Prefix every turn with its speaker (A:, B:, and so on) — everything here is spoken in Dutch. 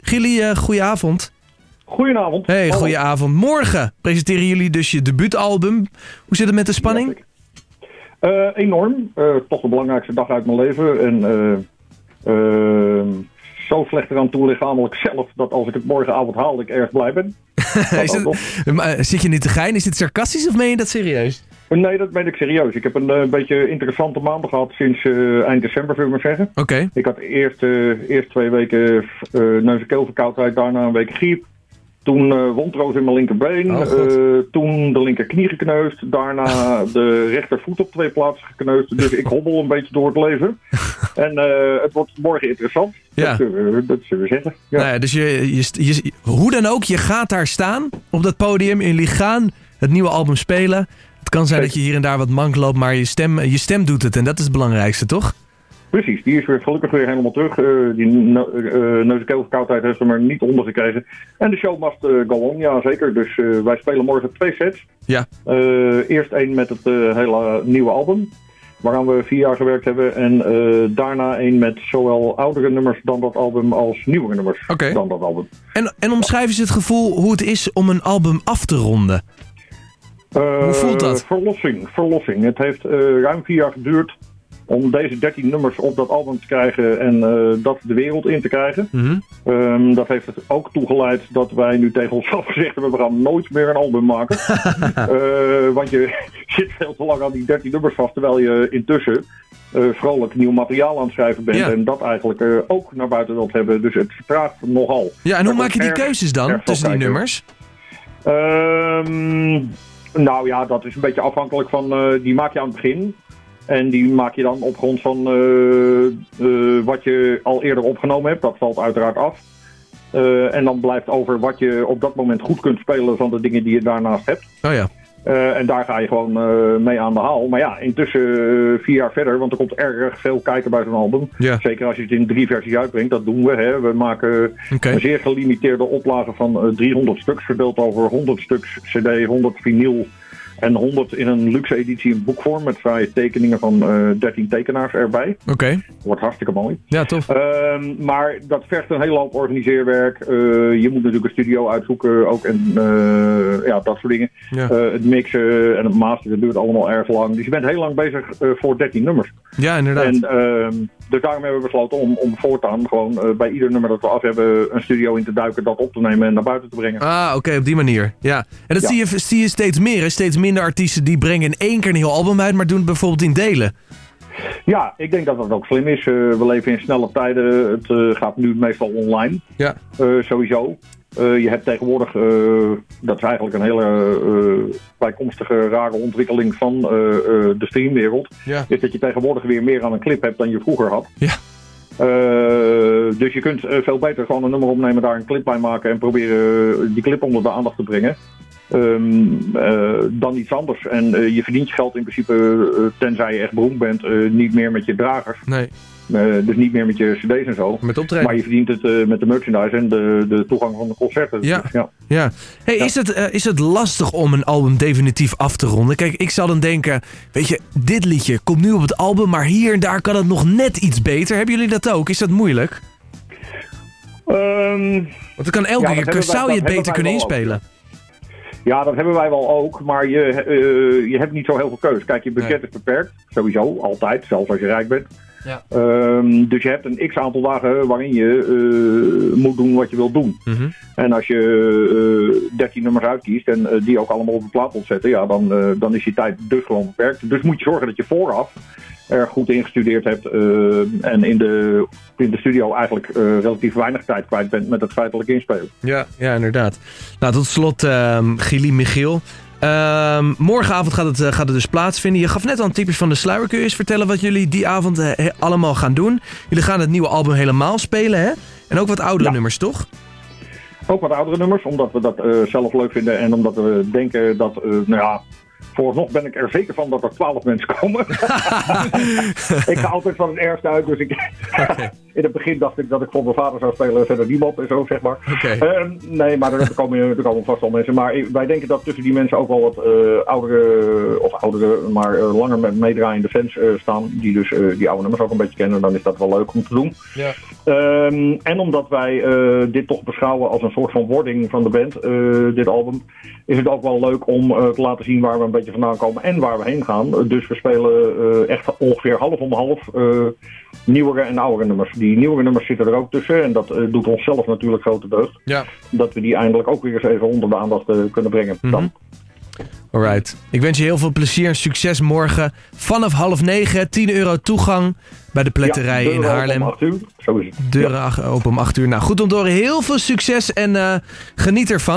A: Gilly, eh goedenavond.
B: Goedenavond. Oh,
A: Hey,
B: Hallo.
A: goedenavond. Morgen presenteren jullie dus je debuutalbum. Hoe zit het met de spanning?
B: Ja, zeker. Eh, enorm. Eh, toch de belangrijkste dag uit mijn leven. En eh, eh, zo slecht eraan toe lichamelijk zelf dat als ik het morgenavond haal, ik erg blij ben. Dat
A: Is
B: ook nog.
A: het- maar, eh, zit je niet te gein? Is dit sarcastisch of meen je dat serieus?
B: Nee, dat ben ik serieus. Ik heb een eh, beetje interessante maanden gehad sinds eh, eind december, zullen we maar zeggen.
A: Oké.
B: Ik had eerst, eh, eerst twee weken eh neus- en keelverkoudheid, daarna een week griep. Toen eh wondroos in mijn linkerbeen.
A: Oh,
B: eh,
A: God.
B: toen de linkerknie gekneusd. Daarna de rechtervoet op twee plaatsen gekneusd. Dus ik hobbel een beetje door het leven. En eh, het wordt morgen interessant.
A: Ja.
B: Dat, zullen we, dat zullen we zeggen. Ja.
A: Nou ja, dus je, je, st- je, s- hoe dan ook, je gaat daar staan op dat podium in Ligaan, het nieuwe album spelen. Het kan zijn dat je hier en daar wat mank loopt, maar je stem, eh, je stem doet het en dat is het belangrijkste, toch?
B: Precies, die is weer gelukkig weer helemaal terug. Eh, die no- eh, neus- en keelverkoudheid heeft hem er niet onder gekregen. En de show must eh, go on, ja zeker. Dus eh, wij spelen morgen twee sets.
A: Ja.
B: Eh, eerst één met het eh, hele nieuwe album, waaraan we vier jaar gewerkt hebben. En eh, daarna één met zowel oudere nummers dan dat album als nieuwere nummers
A: Oké.
B: dan dat album.
A: En, en omschrijf eens het gevoel hoe het is om een album af te ronden.
B: Eh,
A: Hoe voelt dat?
B: Verlossing, verlossing. Het heeft eh, ruim vier jaar geduurd om deze 13 nummers op dat album te krijgen en eh, dat de wereld in te krijgen.
A: Mhm.
B: Ehm, dat heeft het ook toegeleid dat wij nu tegen onszelf gezegd hebben: we gaan nooit meer een album maken. Eh, want je zit veel te lang aan die 13 nummers vast, terwijl je intussen eh, vrolijk nieuw materiaal aan het schrijven bent.
A: Ja.
B: En dat eigenlijk eh, ook naar buiten wilt hebben. Dus het vertraagt nogal.
A: Ja, en hoe
B: Dat
A: maak je die
B: erg-
A: keuzes
B: erg
A: dan
B: wel
A: tussen die
B: kijken.
A: nummers?
B: Ehm, nou ja, dat is een beetje afhankelijk van. eh, die maak je aan het begin. En die maak je dan op grond van eh, eh, wat je al eerder opgenomen hebt. Dat valt uiteraard af. Eh, en dan blijft over wat je op dat moment goed kunt spelen van de dingen die je daarnaast hebt.
A: Oh ja.
B: Eh, en daar ga je gewoon eh, mee aan de haal. Maar ja, intussen eh, vier jaar verder, want er komt erg veel kijken bij zo'n album.
A: Ja,
B: Zeker als je het in drie versies uitbrengt, dat doen we. Hè. We maken
A: oké.
B: een zeer gelimiteerde oplage van eh, 300 stuks, verdeeld over 100 stuks CD, 100 vinyl en 100 in een luxe editie in boekvorm met vrije tekeningen van eh, 13 tekenaars erbij.
A: Oké,
B: Wordt hartstikke mooi.
A: ja tof.
B: Ehm, maar dat vergt een hele hoop organiseerwerk. Eh, je moet natuurlijk een studio uitzoeken ook en eh, ja, dat soort dingen.
A: Ja.
B: Eh, het mixen en het masteren duurt allemaal erg lang. Dus je bent heel lang bezig eh, voor 13 nummers.
A: Ja, inderdaad.
B: En, ehm, dus daarom hebben we besloten om, om voortaan gewoon eh, bij ieder nummer dat we af hebben een studio in te duiken, dat op te nemen en naar buiten te brengen.
A: Ah, oké, op die manier. Ja. En dat
B: Ja.
A: zie, je, zie je steeds meer, hè? Steeds minder artiesten die brengen in één keer een heel album uit, maar doen het bijvoorbeeld in delen.
B: Ja, ik denk dat dat ook slim is. Eh, we leven in snelle tijden. Het eh, gaat nu meestal online,
A: Ja.
B: eh, sowieso. Eh, je hebt tegenwoordig, eh, dat is eigenlijk een hele eh, bijkomstige rare ontwikkeling van eh, eh, de streamwereld,
A: Ja.
B: is dat je tegenwoordig weer meer aan een clip hebt dan je vroeger had.
A: Ja.
B: Eh, dus je kunt eh, veel beter gewoon een nummer opnemen, daar een clip bij maken en proberen eh, die clip onder de aandacht te brengen. Ehm, eh, dan iets anders. En eh, je verdient je geld in principe, eh, tenzij je echt beroemd bent, eh, niet meer met je dragers.
A: Nee,
B: Eh, dus niet meer met je cd's en zo.
A: met optreden.
B: Maar je verdient het eh, met de merchandise en de, de toegang van de concerten.
A: Ja.
B: Dus, ja.
A: Ja. Hey, Is, het, eh, is het lastig om een album definitief af te ronden? Kijk, ik zal dan denken, weet je, dit liedje komt nu op het album, maar hier en daar kan het nog net iets beter. Hebben jullie dat ook? Is dat moeilijk?
B: Ehm,
A: Want het kan elke
B: Ja, dat
A: keer,
B: hebben wij-
A: zou je
B: dat
A: het beter
B: hebben
A: kunnen
B: wij wel
A: inspelen?
B: ja, dat hebben wij wel ook. Maar je, eh, je hebt niet zo heel veel keus. Kijk, je budget is beperkt. Sowieso, altijd. Zelfs als je rijk bent.
A: Ja.
B: Ehm, dus je hebt een x-aantal dagen waarin je eh, moet doen wat je wilt doen.
A: Mhm.
B: En als je eh 13 nummers uitkiest en eh, die ook allemaal op een plaat wilt zetten, ja, dan, eh, dan is je tijd dus gewoon beperkt. Dus moet je zorgen dat je vooraf er goed ingestudeerd hebt eh, en in de, in de studio eigenlijk eh, relatief weinig tijd kwijt bent met het feitelijk inspelen.
A: Ja, ja, inderdaad. Nou, tot slot, ehm Gili Michiel. Ehm, morgenavond gaat het, eh, gaat het dus plaatsvinden. Je gaf net al een tipje van de sluier. Kun je eens vertellen wat jullie die avond eh, he- allemaal gaan doen? Jullie gaan het nieuwe album helemaal spelen, hè? En ook wat oudere
B: Ja.
A: nummers, toch?
B: Ook wat oudere nummers, omdat we dat eh, zelf leuk vinden en omdat we denken dat, eh, nou ja, Vooralsnog ben ik er zeker van dat er 12 mensen komen. ik ga altijd van het ergste uit. Dus ik in het begin dacht ik dat ik voor mijn vader zou spelen. en Verder niemand en zo, zeg maar.
A: Oké.
B: Ehm, nee, maar er komen, er komen vast wel mensen. Maar ik- wij denken dat tussen die mensen ook wel wat eh, oudere, of oudere, maar eh, langer met meedraaiende fans eh, staan. Die dus eh, die oude nummers ook een beetje kennen. Dan is dat wel leuk om te doen.
A: Ja.
B: Ehm, en omdat wij eh, dit toch beschouwen als een soort van wording van de band, eh, dit album, is het ook wel leuk om eh, te laten zien waar we een beetje vandaan komen en waar we heen gaan. Eh, Dus we spelen eh, echt ongeveer half om half eh, nieuwere en oudere nummers. Die nieuwere nummers zitten er ook tussen en dat eh, doet onszelf natuurlijk grote deugd.
A: Ja.
B: Dat we die eindelijk ook weer eens even onder de aandacht eh, kunnen brengen.
A: Mhm.
B: Dan.
A: Alright. Ik wens je heel veel plezier en succes morgen. Vanaf half negen, 10 euro toegang bij de pletterij
B: Ja,
A: in
B: deuren
A: Haarlem.
B: om acht uur. Zo is het. Ja.
A: Deuren ach- open om 8 uur. Nou, goed om te horen. Heel veel succes en eh, geniet ervan.